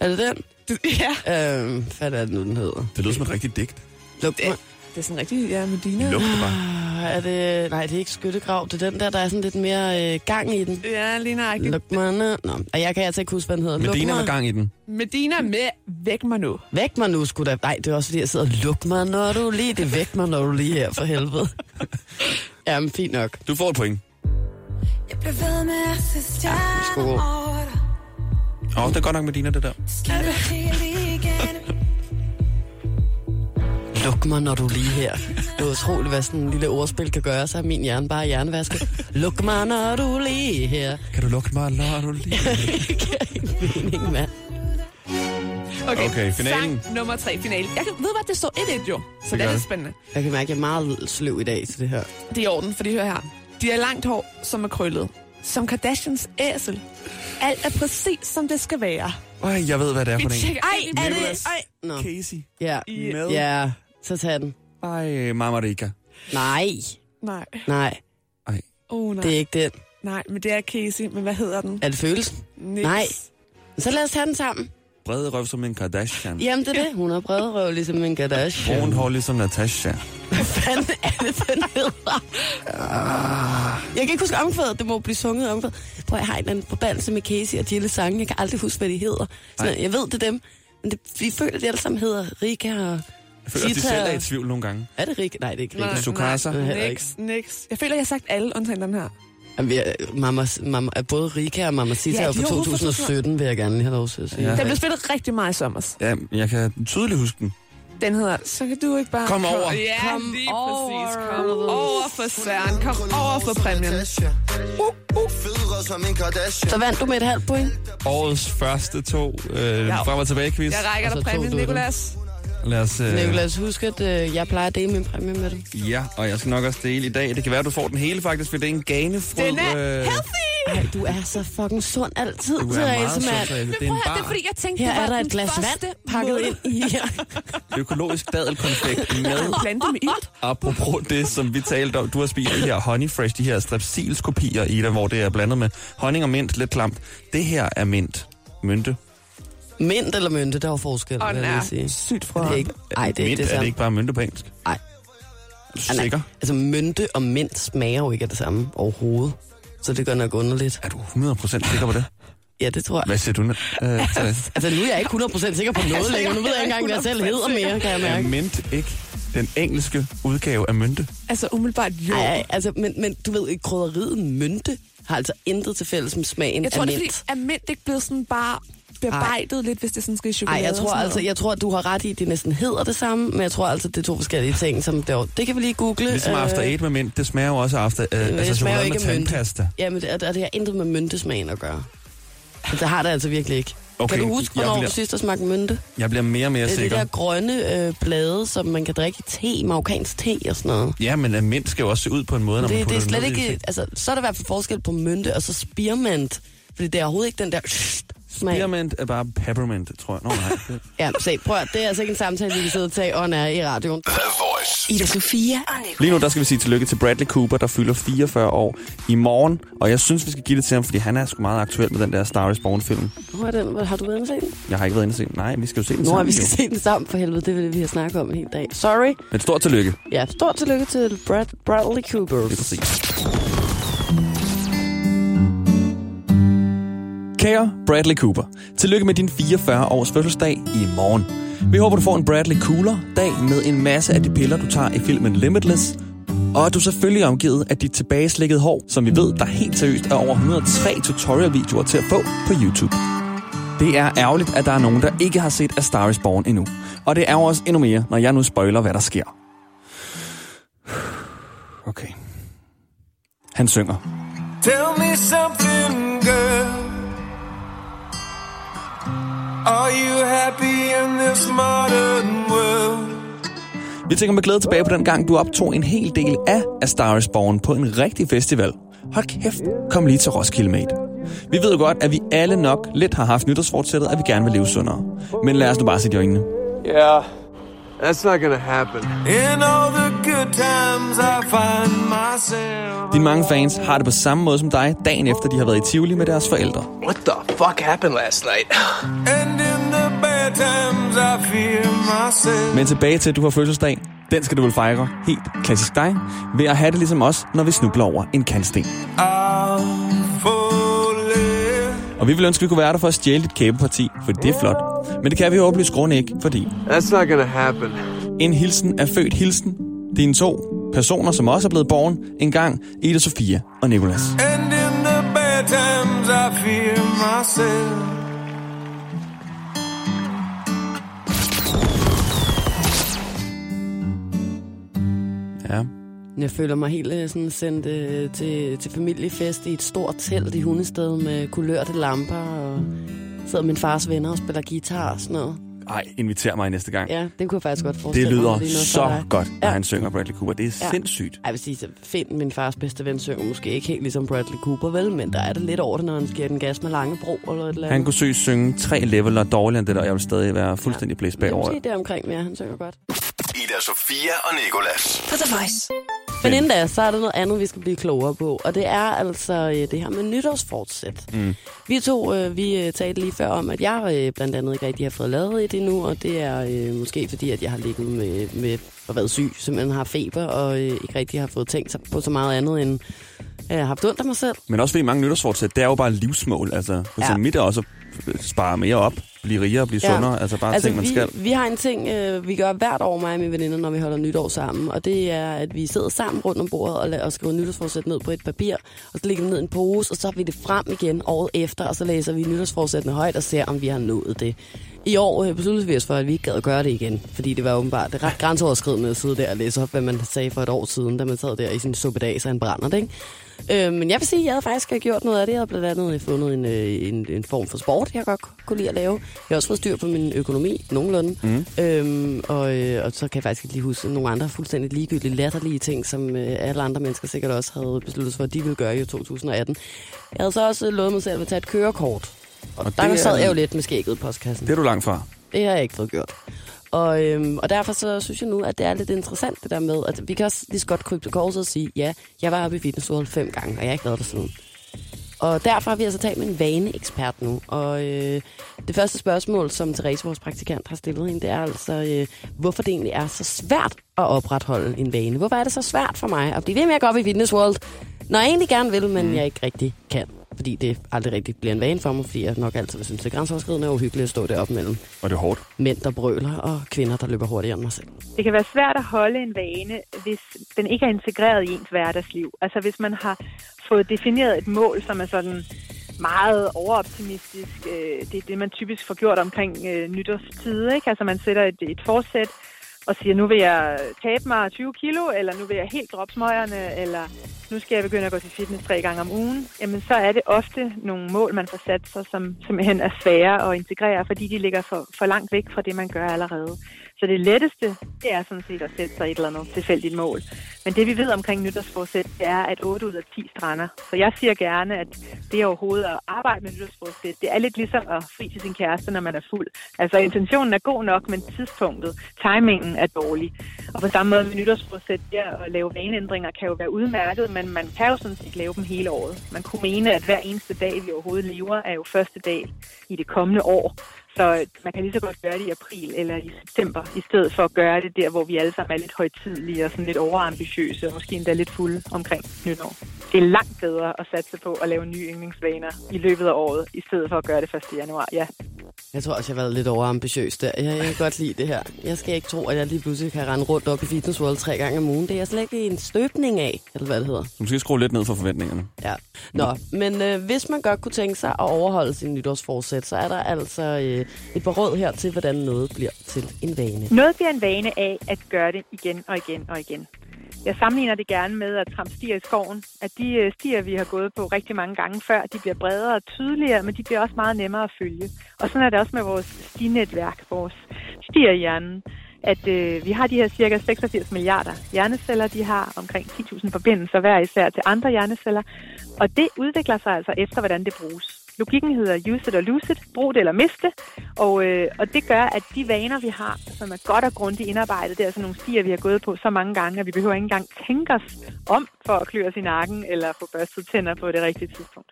[SPEAKER 3] Er det den?
[SPEAKER 5] Du, ja.
[SPEAKER 3] Øhm, hvad er det nu, den hedder?
[SPEAKER 4] Det lyder som et rigtigt digt.
[SPEAKER 3] Look mig.
[SPEAKER 5] Det er sådan rigtig, ja, Medina.
[SPEAKER 4] Lugt det bare.
[SPEAKER 3] Ah, Er det... Nej, det er ikke skyttegrav. Det er den der, der er sådan lidt mere øh, gang i den.
[SPEAKER 5] Ja, lige nøjagtigt.
[SPEAKER 3] Look mig nu. Nå, og jeg kan altså ikke huske, hvad den hedder. Luk
[SPEAKER 4] Medina
[SPEAKER 3] mig.
[SPEAKER 4] med gang i den.
[SPEAKER 5] Medina med Væk mig nu.
[SPEAKER 3] Væk mig nu, skulle da. Nej, det er også fordi, jeg sidder og luk mig, når du lige. Det er væk mig, når du lige her, for helvede. Jamen, fint nok.
[SPEAKER 4] Du får et point.
[SPEAKER 7] Jeg blev ved med at se
[SPEAKER 3] skal
[SPEAKER 7] stjerner
[SPEAKER 3] gå.
[SPEAKER 7] over dig
[SPEAKER 4] Åh, oh, det er godt nok Medina, det der.
[SPEAKER 7] Skinner helt igen
[SPEAKER 3] Luk mig, når du lige her. Det er utroligt, hvad sådan en lille ordspil kan gøre, så er min hjerne bare hjernevasket. Luk mig, når du lige her.
[SPEAKER 4] Kan du lugte mig, når du lige...
[SPEAKER 3] Mening, mand.
[SPEAKER 5] Okay,
[SPEAKER 4] Okay, finalen.
[SPEAKER 5] Sang nummer tre, finale. Jeg kan, ved hvad, det står 1-1 jo, så
[SPEAKER 4] gør
[SPEAKER 5] det, er lidt
[SPEAKER 4] det.
[SPEAKER 5] spændende.
[SPEAKER 3] Jeg kan mærke, at jeg er meget sløv i dag til det her.
[SPEAKER 5] Det er i orden, for det hører her. De har langt hår, som er krøllet. Som Kardashians æsel. Alt er præcis, som det skal være.
[SPEAKER 4] Ej, jeg ved, hvad det er
[SPEAKER 5] Vi
[SPEAKER 4] for en.
[SPEAKER 5] tjekker Ej,
[SPEAKER 4] er det- ej.
[SPEAKER 3] Nå.
[SPEAKER 4] Casey.
[SPEAKER 3] Ja.
[SPEAKER 4] Med.
[SPEAKER 3] Ja, så tag den.
[SPEAKER 4] Ej, Marmarika.
[SPEAKER 3] Nej,
[SPEAKER 5] Nej.
[SPEAKER 3] nej,
[SPEAKER 4] Ej.
[SPEAKER 5] Oh, nej.
[SPEAKER 3] det er ikke den.
[SPEAKER 5] nej, men det er Casey. Men hvad hedder den?
[SPEAKER 3] Er det følelsen?
[SPEAKER 5] Nix.
[SPEAKER 3] Nej. Så lad os tage den sammen.
[SPEAKER 4] Brede røv som en Kardashian.
[SPEAKER 3] Jamen, det er det. Hun har brede røv, ligesom en Kardashian.
[SPEAKER 4] Brun hår ligesom Natasha.
[SPEAKER 3] Hvad fanden er det, den hedder? Ah. Jeg kan ikke huske omkvædet. Det må blive sunget omkvædet. Prøv, jeg har en eller anden forbandelse med Casey og Jilles sange. Jeg kan aldrig huske, hvad de hedder. Sådan, jeg ved, det er dem. Men det, vi føler, at de alle sammen hedder Rika og
[SPEAKER 4] Jeg føler, at de
[SPEAKER 3] Sita
[SPEAKER 4] selv er
[SPEAKER 3] og-
[SPEAKER 4] i tvivl nogle gange.
[SPEAKER 3] Er det Rika? Nej, det er ikke
[SPEAKER 5] Nej,
[SPEAKER 3] Rika.
[SPEAKER 4] Sukasa.
[SPEAKER 5] nej,
[SPEAKER 3] Heller ikke.
[SPEAKER 5] Niks, niks. Jeg føler, jeg har sagt alle, undtagen den her.
[SPEAKER 3] Jamen, vi er- Mama, mama, er både Rika og Mama Sita
[SPEAKER 5] Ja,
[SPEAKER 3] ja, er
[SPEAKER 5] de
[SPEAKER 3] fra
[SPEAKER 5] er jo fra
[SPEAKER 3] 2017, vil jeg gerne have lov til at sige.
[SPEAKER 4] Ja.
[SPEAKER 3] Ja.
[SPEAKER 5] Den blev spillet rigtig meget i sommer.
[SPEAKER 4] Ja, jeg kan tydeligt huske den.
[SPEAKER 5] Den hedder, så kan du ikke bare...
[SPEAKER 4] Kom over.
[SPEAKER 5] Ja,
[SPEAKER 3] Kom
[SPEAKER 5] lige
[SPEAKER 3] over.
[SPEAKER 5] præcis. Kom over for Søren. Kom over for præmien.
[SPEAKER 6] Federe som en Kardashian.
[SPEAKER 3] Så vandt du med et halvt point.
[SPEAKER 4] Årets første to øh,
[SPEAKER 5] Ja.
[SPEAKER 4] frem og tilbage quiz.
[SPEAKER 5] Jeg rækker
[SPEAKER 3] Og så Altså, tog
[SPEAKER 5] dig præmien,
[SPEAKER 3] du den.
[SPEAKER 5] Nicolas.
[SPEAKER 4] Lad os, øh,
[SPEAKER 3] Nikolas, husk, at øh, jeg plejer at dele min præmie med dig.
[SPEAKER 4] Ja, og jeg skal nok også dele i dag. Det kan være, at du får den hele faktisk, for det er en øh, ganefrød.
[SPEAKER 5] Den er healthy!
[SPEAKER 3] Ej, du øh, er så fucking sund altid,
[SPEAKER 4] Du er meget
[SPEAKER 3] Therese,
[SPEAKER 4] sund,
[SPEAKER 3] mand.
[SPEAKER 4] Therese. Det
[SPEAKER 5] Men
[SPEAKER 4] er
[SPEAKER 5] prøv
[SPEAKER 4] en
[SPEAKER 5] at høre, det er
[SPEAKER 4] bar.
[SPEAKER 5] fordi, jeg tænkte,
[SPEAKER 3] Her
[SPEAKER 5] det var
[SPEAKER 3] er der
[SPEAKER 5] den
[SPEAKER 3] et glas
[SPEAKER 5] første
[SPEAKER 3] vand pakket
[SPEAKER 5] måde.
[SPEAKER 3] ind i her.
[SPEAKER 4] Økologisk dadelkonfekt med
[SPEAKER 5] Plante med ild.
[SPEAKER 4] Apropos det, som vi talte om, du har spist de her Honey Fresh, de her strepsilskopier i dig, hvor det er blandet med honning og mint, lidt klamt. Det her er mint. Mynte.
[SPEAKER 3] Mint eller mynte, der er jo forskel,
[SPEAKER 5] Og
[SPEAKER 3] vil
[SPEAKER 5] den
[SPEAKER 3] jeg
[SPEAKER 5] er
[SPEAKER 3] lige sige.
[SPEAKER 5] sygt fra.
[SPEAKER 3] Det er ikke, ej, det er
[SPEAKER 4] mint,
[SPEAKER 3] ikke det
[SPEAKER 4] er det
[SPEAKER 3] samme.
[SPEAKER 4] ikke bare mynte på engelsk?
[SPEAKER 3] Ej.
[SPEAKER 4] Er du
[SPEAKER 3] Ah, nej.
[SPEAKER 4] sikker?
[SPEAKER 3] Altså, mynte og mint smager jo ikke af det samme overhovedet. Så det gør nok underligt.
[SPEAKER 4] Er du 100% sikker på det?
[SPEAKER 3] Ja, det tror jeg.
[SPEAKER 4] Hvad siger du nu? Øh, Therese?
[SPEAKER 3] Altså, nu er jeg ikke 100% sikker på noget længere. Nu ved jeg ikke engang, hvad jeg selv hedder mere, kan jeg
[SPEAKER 4] er
[SPEAKER 3] mærke.
[SPEAKER 4] mint ikke den engelske udgave af mynte?
[SPEAKER 5] Altså umiddelbart jo.
[SPEAKER 3] Ej, ej, altså, men, men du ved, krydderiet mynte har altså intet til fælles med smagen
[SPEAKER 5] Jeg tror,
[SPEAKER 3] af
[SPEAKER 5] det er
[SPEAKER 3] mint.
[SPEAKER 5] fordi, er mint ikke blevet sådan bare bearbejdet lidt, hvis det sådan skal i chokolade?
[SPEAKER 3] Nej, jeg tror
[SPEAKER 5] og sådan
[SPEAKER 3] altså,
[SPEAKER 5] noget?
[SPEAKER 3] jeg tror, du har ret i, at det næsten hedder det samme, men jeg tror altså, det er to forskellige ting, som det, er- det kan vi lige google.
[SPEAKER 4] Ligesom After
[SPEAKER 3] Øh,
[SPEAKER 4] 8 med mint, det smager jo også af after, øh,
[SPEAKER 3] men
[SPEAKER 4] altså
[SPEAKER 3] det smager jo
[SPEAKER 4] chokolade
[SPEAKER 3] ikke
[SPEAKER 4] med
[SPEAKER 3] af mynte.
[SPEAKER 4] tandpasta.
[SPEAKER 3] Jamen, det, er- det har intet med myntesmagen at gøre. Så Det har det altså virkelig ikke.
[SPEAKER 4] Okay,
[SPEAKER 3] kan du huske,
[SPEAKER 4] jeg
[SPEAKER 3] hvornår
[SPEAKER 4] bliver-
[SPEAKER 3] du sidst har smagt mynte?
[SPEAKER 4] Jeg bliver mere og mere
[SPEAKER 3] Det er de der
[SPEAKER 4] sikker.
[SPEAKER 3] grønne øh, blade, som man kan drikke i te, marokkansk te og sådan noget.
[SPEAKER 4] Ja, men øh, mint skal jo også se ud på en måde, når man
[SPEAKER 3] Det, det
[SPEAKER 4] putter
[SPEAKER 3] er
[SPEAKER 4] den
[SPEAKER 3] slet
[SPEAKER 4] ned i ting.
[SPEAKER 3] ikke... Altså, så er der i hvert fald forskel på mynte og så spearmint. Fordi det er overhovedet ikke den der... smag.
[SPEAKER 4] Spearmint er bare peppermint, tror jeg. Nå, nej.
[SPEAKER 3] Ja, se, prøv at, det er altså ikke en samtale, vi kan sidde og tage on air i radioen.
[SPEAKER 1] The Voice.
[SPEAKER 2] Ida Sofia og
[SPEAKER 4] Lige
[SPEAKER 2] Nicolas.
[SPEAKER 4] nu der skal vi sige tillykke til Bradley Cooper, der fylder 44 år i morgen. Og jeg synes, vi skal give det til ham, fordi han er sgu meget aktuel med den der Star Wars Born-film.
[SPEAKER 3] Hvor er den? Hvor- Har du været inde og set den?
[SPEAKER 4] Jeg har ikke været inde og se den. Nej, vi skal jo se den
[SPEAKER 3] Nå,
[SPEAKER 4] sammen.
[SPEAKER 3] vi skal
[SPEAKER 4] jo.
[SPEAKER 3] se den sammen for helvede. Det er det, vi har snakket om en hel dag. Sorry.
[SPEAKER 4] Men stort tillykke.
[SPEAKER 3] Ja, stort tillykke til Brad, Bradley Cooper.
[SPEAKER 4] Lige præcis. Kære Bradley Cooper, tillykke med din 44 års fødselsdag i morgen. Vi håber, du får en Bradley Cooler dag med en masse af de piller, du tager i filmen Limitless, og at du selvfølgelig er omgivet af dit tilbageslækkede hår, som vi ved, der helt seriøst er over 103 tutorial-videoer til at få på YouTube. Det er ærgerligt, at der er nogen, der ikke har set A Star Is Born endnu. Og det ærger os endnu mere, når jeg nu spoiler, hvad der sker. Okay. Han synger.
[SPEAKER 8] Tell me something, girl. Are you happy in this modern world?
[SPEAKER 4] Vi tænker med glæde tilbage på den gang, du optog en hel del af A Star Is Born på en rigtig festival. Hold kæft, kom lige til Roskilde Mate. Vi ved jo godt, at vi alle nok lidt har haft nytårsfortsættet, at vi gerne vil leve sundere. Men lad os nu bare sætte i øjnene.
[SPEAKER 8] Yeah, that's not gonna happen. In all the good times, I find myself.
[SPEAKER 4] Dine mange fans har det på samme måde som dig, dagen efter de har været i Tivoli med deres forældre.
[SPEAKER 9] What the fuck happened last night?
[SPEAKER 8] And in the bad times, I fear myself.
[SPEAKER 4] Men tilbage til, at du har fødselsdag. Den skal du vel fejre helt klassisk dig, ved at have det ligesom os, når vi snubler over en kantsten.
[SPEAKER 8] I'll falling.
[SPEAKER 4] Og vi vil ønske, at vi kunne være der for at stjæle dit kæbeparti, for det er flot. Men det kan vi åbenlyst grunde ikke, fordi
[SPEAKER 8] That's not gonna happen.
[SPEAKER 4] En hilsen er født hilsen. Dine to personer, som også er blevet born, engang Ida Sofia og Nikolas.
[SPEAKER 8] And in the bad times, I fear myself.
[SPEAKER 4] Ja.
[SPEAKER 3] Jeg føler mig helt øh, sådan sendt øh, til, til familiefest i et stort telt i hundested med kulørte lamper og sidder min fars venner og spiller guitar og sådan noget.
[SPEAKER 4] Ej, inviter mig næste gang.
[SPEAKER 3] Ja, det kunne jeg faktisk godt
[SPEAKER 4] Det
[SPEAKER 3] forestille
[SPEAKER 4] lyder
[SPEAKER 3] mig. er noget for
[SPEAKER 4] så
[SPEAKER 3] dig.
[SPEAKER 4] godt, når
[SPEAKER 3] Ja.
[SPEAKER 4] han synger Bradley Cooper. Det er
[SPEAKER 3] Ja.
[SPEAKER 4] sindssygt.
[SPEAKER 3] Ej, Jeg vil sige, så Finn, min fars bedste ven, synger måske ikke helt ligesom Bradley Cooper, vel? Men der er det lidt over det, når han giver den gas med lange bro eller et eller andet.
[SPEAKER 4] Han kunne søge synge tre leveler dårligere end det der, og jeg vil stadig være fuldstændig blæst
[SPEAKER 3] det er
[SPEAKER 4] bagover.
[SPEAKER 3] måske det omkring, men ja, han synger godt.
[SPEAKER 1] Ida Sofia og Nikolas.
[SPEAKER 2] På The Voice.
[SPEAKER 3] Men
[SPEAKER 4] finde.
[SPEAKER 3] inden da, så er der noget andet, vi skal blive klogere på, og det er altså øh, det her med nytårsfortsæt. Mm. Vi to, øh, vi øh, talte lige før om, at jeg øh, blandt andet ikke rigtig har fået lavet et endnu, og det er øh, måske fordi, at jeg har ligget med, med og været syg, simpelthen har feber, og øh, ikke rigtig har fået tænkt sig på så meget andet, end at jeg har haft ondt af mig selv.
[SPEAKER 4] Men også fordi mange nytårsfortsæt, det er jo bare livsmål. Altså, ja.
[SPEAKER 3] Ja.
[SPEAKER 4] mit er også at spare mere op, blive rigere, blive
[SPEAKER 3] Ja.
[SPEAKER 4] sundere. Altså bare ting, man
[SPEAKER 3] vi,
[SPEAKER 4] skal.
[SPEAKER 3] Vi har en ting, øh, vi gør hvert år, mig og mine veninder, når vi holder nytår sammen. Og det er, at vi sidder sammen rundt om bordet og, la- og skriver nytårsforsæt ned på et papir. Og så lægger vi ned i en pose, og så tager vi det frem igen året efter. Og så læser vi nytårsforsættene højt og ser, om vi har nået det. I år øh, besluttede vi os for, at vi ikke gad at gøre det igen. Fordi det var åbenbart ret grænseoverskridende at sidde der og læse op, hvad man sagde for et år siden, da man sad der i sin suppedag, så han brænder det, ikke? Øh, men jeg vil sige, at jeg havde faktisk gjort noget af det. Jeg havde blandt andet fundet en, øh, en, en form for sport, jeg godt kunne lide at lave. Jeg har også fået styr på min økonomi, nogenlunde. Mm. Øhm, og, øh, og så kan jeg faktisk ikke lige huske nogle andre fuldstændig ligegyldige, latterlige ting, som øh, alle andre mennesker sikkert også havde besluttet sig for, at de ville gøre i 2018. Jeg havde så også øh, lovet mig selv at tage et kørekort. Og,
[SPEAKER 4] Og
[SPEAKER 3] og der
[SPEAKER 4] det er-
[SPEAKER 3] sad jeg jo lidt med skægget i postkassen.
[SPEAKER 4] Det er du langt fra.
[SPEAKER 3] Det har jeg ikke fået gjort. Og, øhm, og derfor så synes jeg nu, at det er lidt interessant det der med, at vi kan også lige så godt krybe til korset og sige, ja, jeg var oppe i fitnessstudiet fem gange, og jeg har ikke været der siden. Og derfor har vi altså talt med en vaneekspert nu. Og øh, det første spørgsmål, som Therese, vores praktikant, har stillet hende, det er altså, øh, hvorfor det egentlig er så svært at opretholde en vane. Hvorfor er det så svært for mig at blive ved med at gå op i Fitness World, når jeg egentlig gerne vil, men jeg ikke rigtig kan? Fordi det aldrig rigtig bliver en vane for mig, fordi jeg nok altid vil synes, det er grænseoverskridende og uhyggeligt at stå deroppe mellem
[SPEAKER 4] Og det er hårdt.
[SPEAKER 3] mænd, der brøler, og kvinder, der løber hurtigere end mig selv.
[SPEAKER 10] Det kan være svært at holde en vane, hvis den ikke er integreret i ens hverdagsliv. Altså hvis man har fået defineret et mål, som er sådan meget overoptimistisk. Øh, Det er det, man typisk får gjort omkring øh, nytårstid. Ikke? Altså man sætter et, et forsæt og siger, nu vil jeg tabe mig 20 kilo, eller nu vil jeg helt droppe smøgerne, eller nu skal jeg begynde at gå til fitness tre gange om ugen. Jamen så er det ofte nogle mål, man får sat sig, som simpelthen er svære at integrere, fordi de ligger for, for langt væk fra det, man gør allerede. Så det letteste, det er sådan set at sætte sig et eller andet tilfældigt mål. Men det vi ved omkring nytårsforsæt, det er, at 8 ud af 10 strander. Så jeg siger gerne, at det overhovedet at arbejde med nytårsforsæt, det er lidt ligesom at fri til sin kæreste, når man er fuld. Altså intentionen er god nok, men tidspunktet, timingen er dårlig. Og på samme måde med nytårsforsæt, det at lave vaneændringer kan jo være udmærket, men man kan jo sådan set lave dem hele året. Man kunne mene, at hver eneste dag, vi overhovedet lever, er jo første dag i det kommende år. Så man kan lige så godt gøre det i april eller i september, i stedet for at gøre det der, hvor vi alle sammen er lidt højtidlige og sådan lidt overambitiøse, og måske endda lidt fulde omkring nytår. Det er langt bedre at satse på at lave nye yndlingsvaner i løbet af året, i stedet for at gøre det 1. januar. Ja,
[SPEAKER 3] Jeg tror også, jeg har været lidt overambitiøs der. Jeg kan godt lide det her. Jeg skal ikke tro, at jeg lige pludselig kan rende rundt op i Fitness World tre gange om ugen. Det er jeg slet ikke en støbning af, eller hvad det hedder.
[SPEAKER 4] Så måske skrue lidt ned for forventningerne.
[SPEAKER 3] Ja. Nå, men øh, hvis man godt kunne tænke sig at overholde sin nytårsforsæt, så er der altså øh, et par råd her til, hvordan noget bliver til en vane.
[SPEAKER 10] Noget bliver en vane af at gøre det igen og igen og igen. Jeg sammenligner det gerne med at tramstier i skoven. At de øh, stier, vi har gået på rigtig mange gange før, de bliver bredere og tydeligere, men de bliver også meget nemmere at følge. Og sådan er det også med vores stinetværk, vores stier i hjernen. At øh, vi har de her cirka 86 milliarder hjerneceller, de har omkring 10.000 forbindelser hver især til andre hjerneceller. Og det udvikler sig altså efter, hvordan det bruges. Logikken hedder use it or lose it, brug det eller miste det. Og, øh, og det gør, at de vaner, vi har, som er godt og grundigt indarbejdet, det er altså nogle stier, vi har gået på så mange gange, at vi behøver ikke engang tænke os om for at klø os i nakken eller få børstet tænder på det rigtige tidspunkt.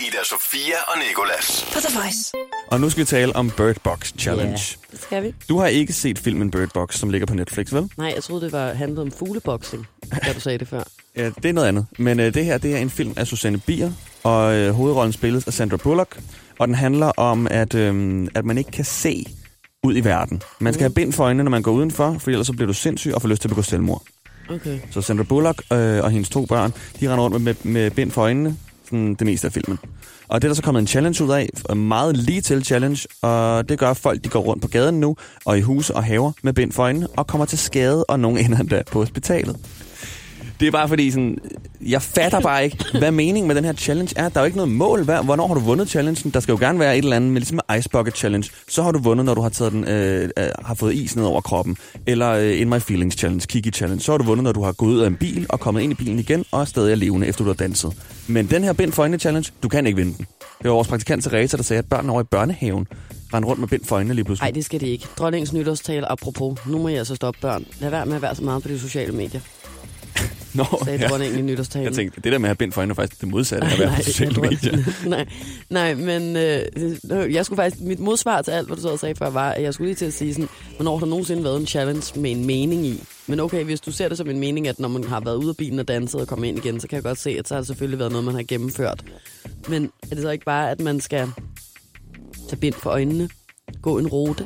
[SPEAKER 1] Ida Sofia og Nikolas.
[SPEAKER 2] På The Voice.
[SPEAKER 4] Og nu skal vi tale om Bird Box Challenge.
[SPEAKER 3] Ja, det skal vi.
[SPEAKER 4] Du har ikke set filmen Bird Box, som ligger på Netflix, vel?
[SPEAKER 3] Nej, jeg troede, det var handlede om fugleboksning, da du sagde det før.
[SPEAKER 4] Ja, det er noget andet. Men øh, det her, det er en film af Susanne Bier, og øh, hovedrollen spilles af Sandra Bullock, og den handler om, at, øh, at man ikke kan se ud i verden. Man skal have bind for øjnene, når man går udenfor, for ellers så bliver du sindssyg og får lyst til at begå selvmord.
[SPEAKER 3] Okay.
[SPEAKER 4] Så Sandra Bullock øh, og hendes to børn, de render rundt med, med, med bind for øjnene, sådan det meste af filmen. Og det er der så kommet en challenge ud af, en meget lige til challenge, og det gør at folk, de går rundt på gaden nu, og i huse og haver med bind for øjnene, og kommer til skade, og nogen ender endda på hospitalet. Det er bare fordi, sådan, jeg fatter bare ikke, hvad meningen med den her challenge er. Der er jo ikke noget mål. Hvad, hvornår har du vundet challengen? Der skal jo gerne være et eller andet, men ligesom med Ice Bucket Challenge, så har du vundet, når du har, taget den, øh, øh, har fået is ned over kroppen. Eller øh, In My Feelings Challenge, Kiki Challenge. Så har du vundet, når du har gået ud af en bil og kommet ind i bilen igen og er stadig er levende, efter du har danset. Men den her Bind for øjnene Challenge, du kan ikke vinde den. Det var vores praktikant Therese, der sagde, at børn over i børnehaven rendte rundt med Bind for øjnene lige pludselig.
[SPEAKER 3] Nej, det skal det ikke. Dronningens nytårstale apropos. Nu må jeg altså stoppe børn. Lad være med at være så meget på de sociale medier.
[SPEAKER 4] Nå,
[SPEAKER 3] sagde ja. dronningen i nytårstalen.
[SPEAKER 4] Jeg tænkte, det der med at have bind for øjnene er faktisk det modsatte af at være på sociale
[SPEAKER 3] jeg
[SPEAKER 4] medier.
[SPEAKER 3] tror- nej, nej, men øh, jeg skulle faktisk, mit modsvar til alt, hvad du så sagde før, var, at jeg skulle lige til at sige sådan, hvornår har der nogensinde været en challenge med en mening i? Men okay, hvis du ser det som en mening, at når man har været ude af bilen og danset og kommet ind igen, så kan jeg godt se, at så har det selvfølgelig været noget, man har gennemført. Men er det så ikke bare, at man skal tage bind for øjnene, gå en rute,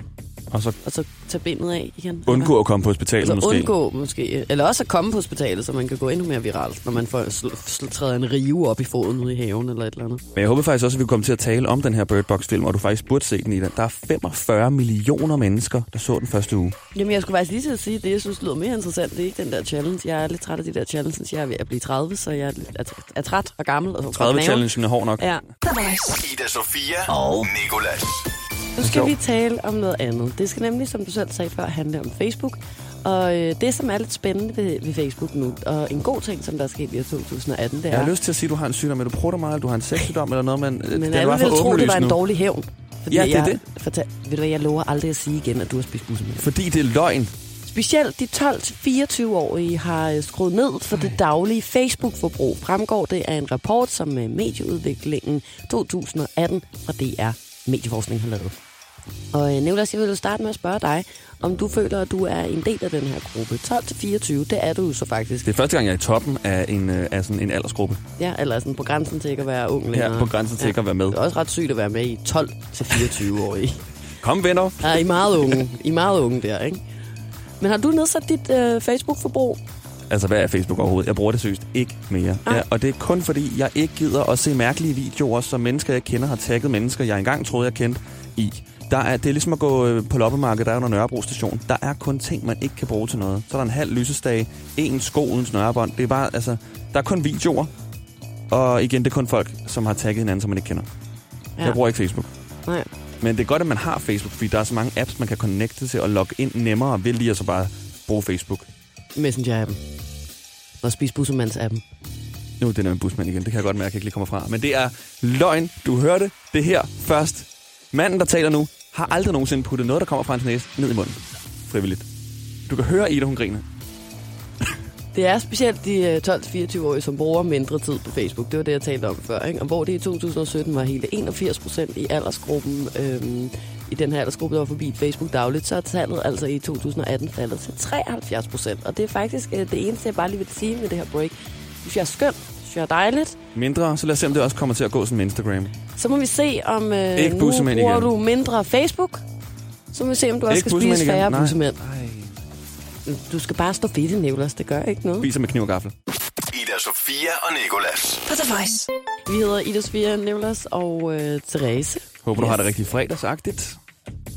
[SPEAKER 4] Og så
[SPEAKER 3] og så tage bindet af igen?
[SPEAKER 4] undgå at komme på hospitalet
[SPEAKER 3] Så
[SPEAKER 4] måske.
[SPEAKER 3] Altså, undgå måske, eller også at komme på hospitalet, så man kan gå endnu mere viralt, når man får sl- sl- træder en rive op i foden ude i haven eller et eller andet.
[SPEAKER 4] Men jeg håber faktisk også, at vi kommer til at tale om den her Bird Box-film, og du faktisk burde se den i den. Der er 45 millioner mennesker, der så den første uge.
[SPEAKER 3] Jamen, jeg skulle faktisk lige til at sige, at det, jeg synes lyder mere interessant, det er ikke den der challenge. Jeg er lidt træt af de der challenges. Jeg er ved at blive 30, så jeg er, lidt- er, er træt og gammel. Og
[SPEAKER 4] 30-challengen er hård nok.
[SPEAKER 3] Ja.
[SPEAKER 1] Ida Sofia og Nikolas.
[SPEAKER 3] Nu skal vi tale om noget andet. Det skal nemlig, som du selv sagde før, handle om Facebook. Og øh, det, som er lidt spændende ved, ved Facebook nu, og en god ting, som der er sket i 2018, det er...
[SPEAKER 4] Jeg har lyst til at sige, at du har en sygdom, eller du prutter meget, eller du har en sexsygdom, eller noget, øh, men,
[SPEAKER 3] men alle ville tro, det var en dårlig hævn. Fordi
[SPEAKER 4] Ja, det er
[SPEAKER 3] jeg, Fortal, ved du hvad, jeg lover aldrig at sige igen, at du har spist bussemælk.
[SPEAKER 4] Fordi det er løgn.
[SPEAKER 3] Specielt de 12-24-årige har øh, skruet ned for det daglige Facebook-forbrug, fremgår det af en rapport, som øh, Medieudviklingen 2018 fra DR Medieforskning har lavet. Og øh, Nicolas, jeg vil jo starte med at spørge dig, om du føler, at du er en del af den her gruppe. 12-24, det er du jo så faktisk.
[SPEAKER 4] Det er første gang, jeg er i toppen af en, øh, af sådan en aldersgruppe.
[SPEAKER 3] Ja, eller sådan på grænsen til ikke at være ung længere.
[SPEAKER 4] Her på grænsen til ikke at være med.
[SPEAKER 3] Det er også ret sygt at være med i 12-24-årige.
[SPEAKER 4] Kom venner.
[SPEAKER 3] Ja, Ah, I er meget unge. I er meget unge der, ikke? Men har du nedsat dit øh, Facebook-forbrug?
[SPEAKER 4] Altså, hvad er Facebook overhovedet? Jeg bruger det seriøst ikke mere.
[SPEAKER 3] Ej.
[SPEAKER 4] Ja, og det er kun fordi, jeg ikke gider at se mærkelige videoer, som mennesker, jeg kender, har tagget mennesker, jeg engang troede, jeg kendte i. Der er, det er ligesom at gå øh, på loppemarkedet, der er under Nørrebro station. Der er kun ting, man ikke kan bruge til noget. Så er der en halv lysestage, en sko uden snørebånd. Det er bare, altså, der er kun videoer. Og igen, det er kun folk, som har tagget hinanden, som man ikke kender. Ja. Jeg bruger ikke Facebook.
[SPEAKER 3] Nej.
[SPEAKER 4] Men det er godt, at man har Facebook, fordi der er så mange apps, man kan connecte til og logge ind nemmere ved lige at så bare bruge Facebook.
[SPEAKER 3] Messenger-appen. Og spis bussemands-appen.
[SPEAKER 4] Nu er det noget med busmand igen, det kan jeg godt mærke, at jeg ikke lige kommer fra. Men det er løgn. Du hørte det her først. Manden, der taler nu, har aldrig nogensinde puttet noget, der kommer fra hans næse, ned i munden. Frivilligt. Du kan høre Ida, hun griner.
[SPEAKER 3] Det er specielt de øh, 12-24-årige, som bruger mindre tid på Facebook. Det var det, jeg talte om før. Ikke? Og hvor det i 2017 var hele 81 procent i aldersgruppen, øhm, i den her aldersgruppe, der var forbi Facebook dagligt, så er tallet altså i 2018 faldet til 73 procent. Og det er faktisk øh, det eneste, jeg bare lige vil sige med det her break. Synes jeg er skønt, synes jeg er dejligt.
[SPEAKER 4] Mindre, så lad os se, om det også kommer til at gå som Instagram.
[SPEAKER 3] Så må vi se, om øh,
[SPEAKER 4] Ikke
[SPEAKER 3] nu
[SPEAKER 4] bussemænd
[SPEAKER 3] bruger
[SPEAKER 4] igen.
[SPEAKER 3] du mindre Facebook. Så må vi se, om du også
[SPEAKER 4] Ikke
[SPEAKER 3] skal
[SPEAKER 4] bussemænd
[SPEAKER 3] spise
[SPEAKER 4] igen.
[SPEAKER 3] færre
[SPEAKER 4] Nej.
[SPEAKER 3] bussemænd. Du skal bare stå fedt i Nicolas. Det gør ikke noget.
[SPEAKER 4] Spiser med kniv og gaffel.
[SPEAKER 1] Ida Sofia og Nikolas.
[SPEAKER 2] På The Voice.
[SPEAKER 3] Vi hedder Ida Svia, Nicolas og øh, Therese.
[SPEAKER 4] Håber, du har det rigtig fredagsagtigt.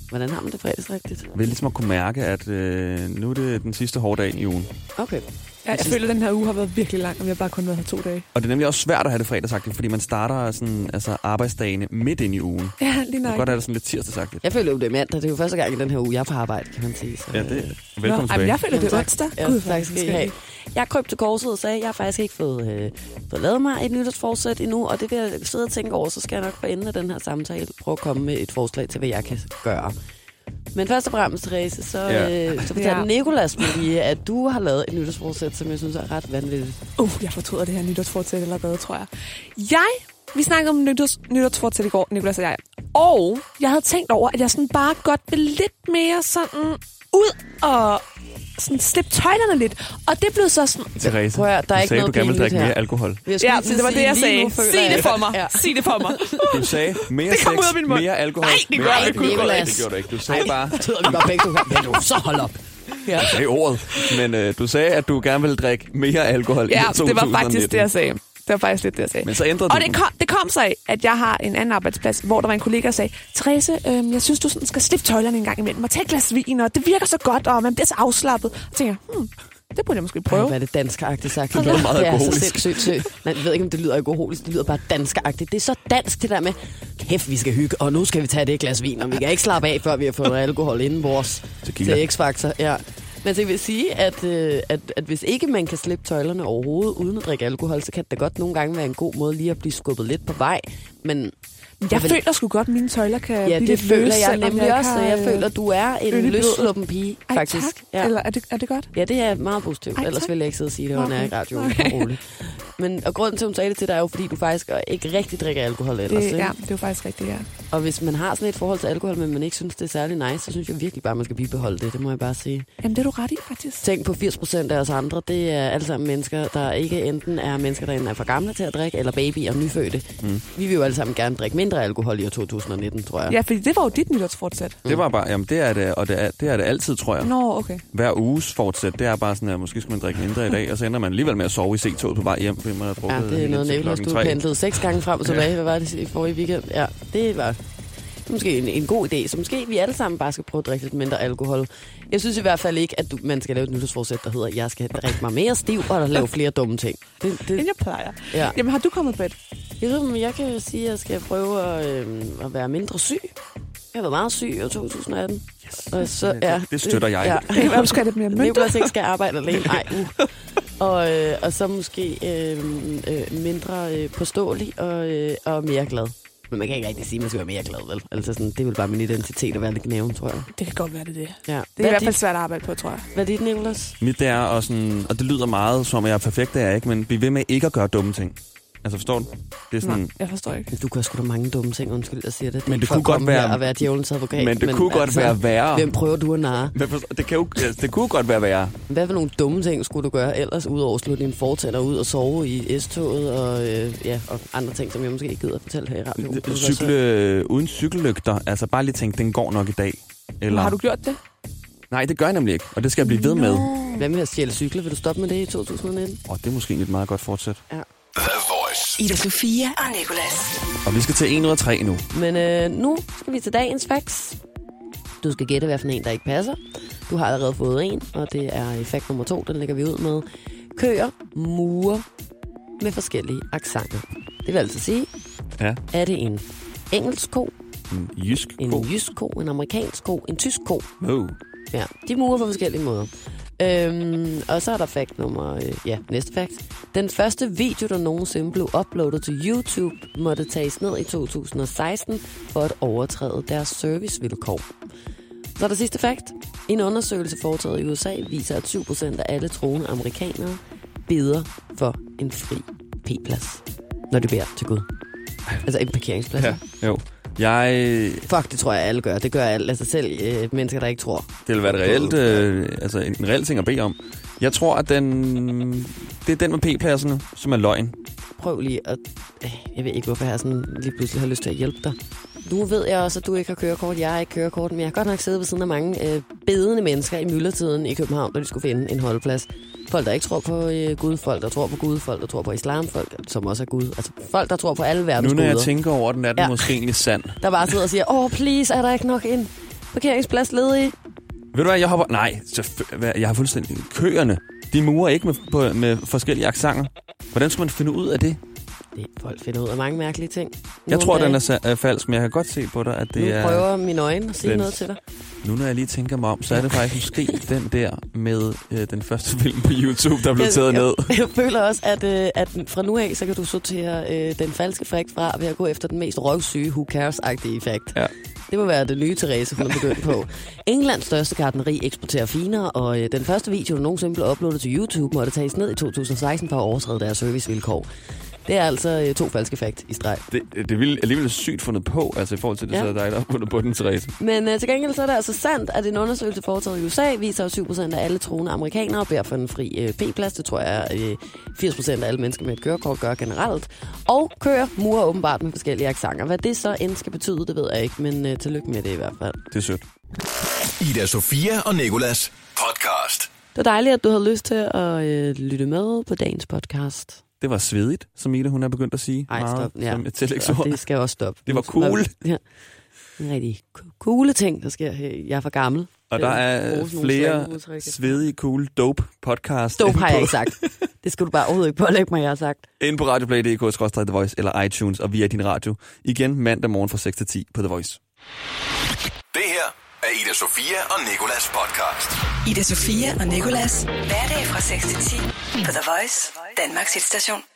[SPEAKER 3] Hvordan har man det fredagsrigtigt?
[SPEAKER 4] Ved ligesom at kunne mærke, at øh, nu er det den sidste hårde dag i ugen.
[SPEAKER 3] Okay.
[SPEAKER 5] Ja, jeg føler, at den her uge har været virkelig lang, og vi har bare kun været her to dage.
[SPEAKER 4] Og det er nemlig også svært at have det fredagsagtigt, fordi man starter sådan, altså arbejdsdagene midt ind i ugen. Det
[SPEAKER 5] Ja, lige
[SPEAKER 4] er
[SPEAKER 5] nok.
[SPEAKER 4] godt, at det er sådan lidt tirsdagsagtigt.
[SPEAKER 3] Jeg føler jo, det er mandag. Det er jo første gang i den her uge, jeg er på arbejde, kan man sige. Så. øh,
[SPEAKER 4] Ja, det
[SPEAKER 5] Nå,
[SPEAKER 4] Velkommen
[SPEAKER 5] ej, men
[SPEAKER 4] tilbage.
[SPEAKER 5] jeg føler, det er onsdag.
[SPEAKER 3] Ja,
[SPEAKER 5] Gud,
[SPEAKER 3] Gud,
[SPEAKER 5] hvor er
[SPEAKER 3] tak skal I
[SPEAKER 5] den
[SPEAKER 3] have. Jeg kryb til korset og sagde, at jeg har faktisk ikke fået, øh, fået lavet mig et nytårsforsæt endnu, og det vil jeg sidde og tænke over, så skal jeg nok for enden af den her samtale prøve at komme med et forslag til, hvad jeg kan gøre. Men først og fremmest, Therese, så,
[SPEAKER 4] Ja.
[SPEAKER 3] ja. øh, så fortalte
[SPEAKER 5] Ja.
[SPEAKER 3] ja. Nikolas mig lige, at du har lavet et nytårsforsæt, som jeg synes er ret vanvittigt.
[SPEAKER 5] Uh, jeg fortryder det her nytårsfortsæt allerede, tror jeg. Jeg, vi snakkede om nytårs, nytårsfortsæt i går, Nicolas og jeg. Og jeg havde tænkt over, at jeg sådan bare godt vil lidt mere sådan ud og sådan slippe tøjlerne lidt. Og det blev så sådan...
[SPEAKER 4] Therese,
[SPEAKER 3] Prøv at høre, der er
[SPEAKER 4] du
[SPEAKER 3] ikke
[SPEAKER 4] sagde,
[SPEAKER 3] noget
[SPEAKER 4] du gerne vil
[SPEAKER 3] pinligt
[SPEAKER 4] drikke
[SPEAKER 3] her.
[SPEAKER 4] mere alkohol.
[SPEAKER 3] Jeg skulle
[SPEAKER 5] Ja,
[SPEAKER 3] lige til at
[SPEAKER 5] det var det,
[SPEAKER 3] sige,
[SPEAKER 5] jeg
[SPEAKER 3] lige
[SPEAKER 5] sagde.
[SPEAKER 3] nu føler
[SPEAKER 5] Sig
[SPEAKER 3] jeg-
[SPEAKER 5] det for mig.
[SPEAKER 3] Ja.
[SPEAKER 5] Sig det for mig.
[SPEAKER 4] Du sagde mere
[SPEAKER 5] Det kom
[SPEAKER 4] sex,
[SPEAKER 5] ud af min mund.
[SPEAKER 4] mere alkohol,
[SPEAKER 5] Nej, det
[SPEAKER 4] mere
[SPEAKER 5] gør
[SPEAKER 3] det
[SPEAKER 4] alkohol.
[SPEAKER 3] ikke,
[SPEAKER 4] Nej,
[SPEAKER 3] Nicolas.
[SPEAKER 4] det gjorde du ikke. Du sagde bare Altså,
[SPEAKER 3] sidder vi bare begge to her. Men nu, så hold op. Ja.
[SPEAKER 4] det ordet. Men øh, du sagde, at du gerne ville drikke mere alkohol
[SPEAKER 5] Ja,
[SPEAKER 4] i 2019.
[SPEAKER 5] det var faktisk det, jeg sagde. Det var faktisk lidt det, jeg sagde.
[SPEAKER 4] Men så ændrede
[SPEAKER 5] og
[SPEAKER 4] du
[SPEAKER 5] det
[SPEAKER 4] den.
[SPEAKER 5] kom, det kom så af, at jeg har en anden arbejdsplads, hvor der var en kollega, der sagde, Therese, øhm, jeg synes, du sådan skal slippe tøjlerne en gang imellem og tage et glas vin, og det virker så godt, og man bliver så afslappet. Og tænker, jeg, hmm, det burde jeg måske prøve.
[SPEAKER 3] Ej, Hvad er det danskeragtigt sagt? Det
[SPEAKER 4] lyder meget
[SPEAKER 3] det er så
[SPEAKER 4] alkoholisk.
[SPEAKER 3] sindssygt sødt. Nej, jeg ved ikke, om det lyder alkoholisk. Det lyder bare danskeragtigt. Det er så dansk, det der med, kæft, vi skal hygge, og nu skal vi tage det glas vin, og vi kan ikke slappe af, før vi har fået noget alkohol inden vores
[SPEAKER 4] Tequila.
[SPEAKER 3] til X-Factor. Ja. Men så jeg vil sige, at, øh, at, at hvis ikke man kan slippe tøjlerne overhovedet uden at drikke alkohol, så kan det da godt nogle gange være en god måde lige at blive skubbet lidt på vej. Men
[SPEAKER 5] Jeg,
[SPEAKER 3] Jeg
[SPEAKER 5] jeg
[SPEAKER 3] vil-
[SPEAKER 5] føler sgu godt, at mine tøjler kan
[SPEAKER 3] Ja,
[SPEAKER 5] blive
[SPEAKER 3] det
[SPEAKER 5] lidt
[SPEAKER 3] føler
[SPEAKER 5] løse,
[SPEAKER 3] jeg
[SPEAKER 5] selvom
[SPEAKER 3] nemlig
[SPEAKER 5] ikke
[SPEAKER 3] også,
[SPEAKER 5] har,
[SPEAKER 3] og jeg
[SPEAKER 5] øh,
[SPEAKER 3] føler, du er en
[SPEAKER 5] øl i blodet.
[SPEAKER 3] løsluppen pige,
[SPEAKER 5] Ej,
[SPEAKER 3] faktisk.
[SPEAKER 5] Tak.
[SPEAKER 3] Ja.
[SPEAKER 5] Eller er det, er det godt?
[SPEAKER 3] Ja, det er meget positivt.
[SPEAKER 5] Ej,
[SPEAKER 3] Ellers
[SPEAKER 5] tak.
[SPEAKER 3] ville jeg ikke sidde og sige, at det var
[SPEAKER 5] Nå,
[SPEAKER 3] nær i radioen.
[SPEAKER 5] okay.
[SPEAKER 3] Okay. Men, og grunden til, at hun sagde det til dig, er jo, fordi du faktisk ikke rigtig drikker alkohol ellers.
[SPEAKER 5] Det,
[SPEAKER 3] ikke?
[SPEAKER 5] ja, det er jo faktisk rigtigt, ja.
[SPEAKER 3] Og hvis man har sådan et forhold til alkohol, men man ikke synes, det er særlig nice, så synes jeg virkelig bare, man skal bibeholde det. Det må jeg bare sige.
[SPEAKER 5] Jamen, det er du ret i, faktisk.
[SPEAKER 3] Tænk på 80% af os andre, det er alle sammen mennesker, der ikke enten er mennesker, der enten er for gamle til at drikke, eller baby og nyfødte. Mm. Vi vil jo alle sammen gerne drikke mindre alkohol i år 2019, tror jeg.
[SPEAKER 5] Ja, fordi det var jo dit nytårsfortsæt.
[SPEAKER 4] Det var bare, jamen det er det, og det er det, er det altid, tror jeg.
[SPEAKER 5] Nå, okay.
[SPEAKER 4] Hver uges fortsæt, det er bare sådan, at måske skal man drikke mindre i dag, og så ender man alligevel med at sove i C-toget på vej hjem, fordi man har drukket
[SPEAKER 3] Ja, det er
[SPEAKER 4] helt
[SPEAKER 3] noget
[SPEAKER 4] til
[SPEAKER 3] Niklas,
[SPEAKER 4] klokken
[SPEAKER 3] du
[SPEAKER 4] tre.
[SPEAKER 3] pendlede seks gange frem og tilbage. Hvad var det i forrige weekend? Ja, det var måske en, en god idé. Så måske vi alle sammen bare skal prøve at drikke lidt mindre alkohol. Jeg synes i hvert fald ikke, at du, man skal lave et nytårsforsæt, der hedder, jeg skal drikke mig mere stiv og lave flere dumme ting. Det,
[SPEAKER 5] End
[SPEAKER 3] det,
[SPEAKER 5] jeg plejer.
[SPEAKER 3] ja.
[SPEAKER 5] Jamen, har du kommet på et?
[SPEAKER 3] Jeg, ved, men jeg kan jo sige, at jeg skal prøve at, øh, at være mindre syg. Jeg var meget syg i 2018. Yes. Og så, ja,
[SPEAKER 4] Det støtter jeg.
[SPEAKER 5] Det kan være, du skal have lidt mere mønt.
[SPEAKER 3] Nicolas ikke skal arbejde alene. Nej, uh. og, øh, og så måske øh, øh, mindre øh, påståelig og, øh, og mere glad. Men man kan ikke rigtig sige, at man skal være mere glad, vel? Altså sådan, det er vel bare min identitet at være lidt gnaven, tror jeg.
[SPEAKER 5] Det kan godt være, det er det.
[SPEAKER 3] Ja.
[SPEAKER 5] Det er i
[SPEAKER 3] Hvad, er
[SPEAKER 5] hvert fald
[SPEAKER 3] dit,
[SPEAKER 5] svært at arbejde på, tror jeg.
[SPEAKER 3] hvad er dit, Nicolas?
[SPEAKER 4] Mit det er, og, sådan, og det lyder meget som, at jeg er perfekt, det er jeg ikke, men bliv ved med ikke at gøre dumme ting. Altså forstår du? Det er sådan,
[SPEAKER 3] Mm.
[SPEAKER 5] Nej, jeg forstår ikke.
[SPEAKER 3] Du gør sgu da mange dumme ting, undskyld, jeg siger det. det
[SPEAKER 4] Men
[SPEAKER 3] er
[SPEAKER 4] det
[SPEAKER 3] for
[SPEAKER 4] kunne
[SPEAKER 3] at
[SPEAKER 4] godt
[SPEAKER 3] komme
[SPEAKER 4] være-
[SPEAKER 3] Her og være djævelens advokat. altså,
[SPEAKER 4] Men det kunne godt være værre.
[SPEAKER 3] Hvem prøver du at narre?
[SPEAKER 4] Men forstår, det, kan jo, altså, det kunne godt være værre.
[SPEAKER 3] Hvad for nogle dumme ting skulle du gøre ellers, udover at slå dine fortænder ud og sove i S-toget og, øh, ja, og andre ting, som jeg måske ikke gider at fortælle her i radioen? Det kunne være
[SPEAKER 4] Cykle øh, uden cykellygter. Altså bare lige tænke, den går nok i dag. Eller...
[SPEAKER 5] Har du gjort det?
[SPEAKER 4] Nej, det gør jeg nemlig ikke, og det skal jeg blive ved med.
[SPEAKER 3] så- Hvad med at stjæle cykler? Vil du stoppe med det i 2019?
[SPEAKER 4] Og det er måske et meget godt fortsæt.
[SPEAKER 1] The Voice.
[SPEAKER 2] Ida Sofia og Nicolas.
[SPEAKER 4] Og vi skal til 1 ud af 3 nu.
[SPEAKER 3] Men øh, nu skal vi til dagens facts. Du skal gætte, hvad for en, der ikke passer. Du har allerede fået en, og det er i fact nummer to, den lægger vi ud med. Køer murer med forskellige accenter. Det vil altså sige,
[SPEAKER 4] Ja.
[SPEAKER 3] er det en engelsk ko,
[SPEAKER 4] En jysk
[SPEAKER 3] en
[SPEAKER 4] ko.
[SPEAKER 3] jysk ko, en amerikansk ko, en tysk ko,
[SPEAKER 4] Oh.
[SPEAKER 3] Ja, de murer på forskellige måder. Øhm, og så er der fact nummer... Øh, ja, næste fact. Den første video, der nogensinde blev uploadet til YouTube, måtte tages ned i 2016 for at overtræde deres servicevilkår. Så er der sidste fact. En undersøgelse foretaget i USA viser, at 7% af alle troende amerikanere beder for en fri p-plads, når de beder til Gud. Altså en parkeringsplads. Ja.
[SPEAKER 4] Ja, jo. Jeg,
[SPEAKER 3] Fuck, det tror jeg, alle gør. Det gør alle. Altså selv øh, mennesker, der ikke tror.
[SPEAKER 4] det vil være et reelt, øh, altså en, en reel ting at bede om. Jeg tror, at den, det er den med p-pladserne, som er løgn.
[SPEAKER 3] prøv lige at... Øh, Jeg ved ikke, hvorfor jeg sådan lige pludselig har lyst til at hjælpe dig. Nu ved jeg også, at du ikke har kørekort. Jeg har ikke kørekort, men jeg har godt nok siddet ved siden af mange øh, bedende mennesker i myldretiden i København, når de skulle finde en holdplads. Folk, der ikke tror på øh, Gud, folk, der tror på Gud, folk, der tror på islam, folk, som også er Gud. Altså folk, der tror på alle verdens
[SPEAKER 4] Nu når jeg
[SPEAKER 3] guder.
[SPEAKER 4] tænker over den, er den
[SPEAKER 3] Ja.
[SPEAKER 4] ja. måske egentlig sand.
[SPEAKER 3] Der bare sidder og siger, åh, oh, please, er der ikke nok en parkeringsplads ledig?
[SPEAKER 4] Ved du hvad, jeg hopper... Nej, selvfø- hvad, jeg har fuldstændig... Køerne, de murer ikke med, på, med forskellige aksanger. Hvordan skulle man finde ud af det?
[SPEAKER 3] Det, folk finder ud af mange mærkelige ting.
[SPEAKER 4] Jeg
[SPEAKER 3] Nogle
[SPEAKER 4] tror,
[SPEAKER 3] dage.
[SPEAKER 4] den er, sa- er falsk, men jeg kan godt se på dig, at det
[SPEAKER 3] Nu
[SPEAKER 4] er...
[SPEAKER 3] prøver mine øjne at sige
[SPEAKER 4] den-
[SPEAKER 3] noget til dig.
[SPEAKER 4] Nu når jeg lige tænker mig om, så er det faktisk måske den der med øh, den første film på YouTube, der blev taget
[SPEAKER 3] jeg,
[SPEAKER 4] ned.
[SPEAKER 3] Jeg, jeg føler også, at, øh, at fra nu af, så kan du sortere øh, den falske fakt fra ved at gå efter den mest røvsyge who cares-agtige fakt.
[SPEAKER 4] Ja.
[SPEAKER 3] Det må være det nye Therese, hun er begyndt på. Englands største gartneri eksporterer finer, og øh, den første video, der nogensinde blev uploadet til YouTube, måtte tages ned i 2016 for at overtræde deres servicevilkår. Det er altså øh, to falske fakt i streg.
[SPEAKER 4] Det, det ville alligevel sygt fundet på, altså i forhold til, det
[SPEAKER 3] Ja.
[SPEAKER 4] ja. så er dig, der har fundet på den, Therese.
[SPEAKER 3] Men øh, til gengæld så er det altså sandt, at en undersøgelse foretaget i USA viser, at 7% af alle troende amerikanere beder for en fri øh, p-plads. Det tror jeg, øh, 80% af alle mennesker med et kørekort gør generelt. Og kører murer åbenbart med forskellige aksanger. Hvad det så end skal betyde, det ved jeg ikke, men øh, tillykke med det i hvert fald.
[SPEAKER 4] Det er sødt.
[SPEAKER 1] Ida Sofia og Nikolas podcast.
[SPEAKER 3] Det var dejligt, at du havde lyst til at øh, lytte med på dagens podcast.
[SPEAKER 4] Det var svedigt, som Ida, hun er begyndt at sige.
[SPEAKER 3] Ej,
[SPEAKER 4] meget
[SPEAKER 3] stop. Ja.
[SPEAKER 4] Som et
[SPEAKER 3] Og
[SPEAKER 4] tillægsord.
[SPEAKER 3] det skal også stoppe.
[SPEAKER 4] Det var cool.
[SPEAKER 3] Ja. En rigtig coole ting, der sker. her. Jeg er for gammel.
[SPEAKER 4] Og der
[SPEAKER 3] Øh,
[SPEAKER 4] er
[SPEAKER 3] bruges nogle
[SPEAKER 4] flere
[SPEAKER 3] slemme udtryk.
[SPEAKER 4] svedige, cool, dope podcast
[SPEAKER 3] Dope har jeg
[SPEAKER 4] på,
[SPEAKER 3] ikke sagt. Det skal du bare overhovedet ikke pålægge mig, jeg har sagt.
[SPEAKER 4] inde på radioplay.dk, The Voice eller iTunes og via din radio. Igen mandag morgen fra 6 til 10 på The Voice.
[SPEAKER 1] Det her er Ida Sofia og Nikolas podcast.
[SPEAKER 2] Ida Sofia og Nicolas. Hverdag fra 6 til 10 på The Voice, Danmarks hitstation.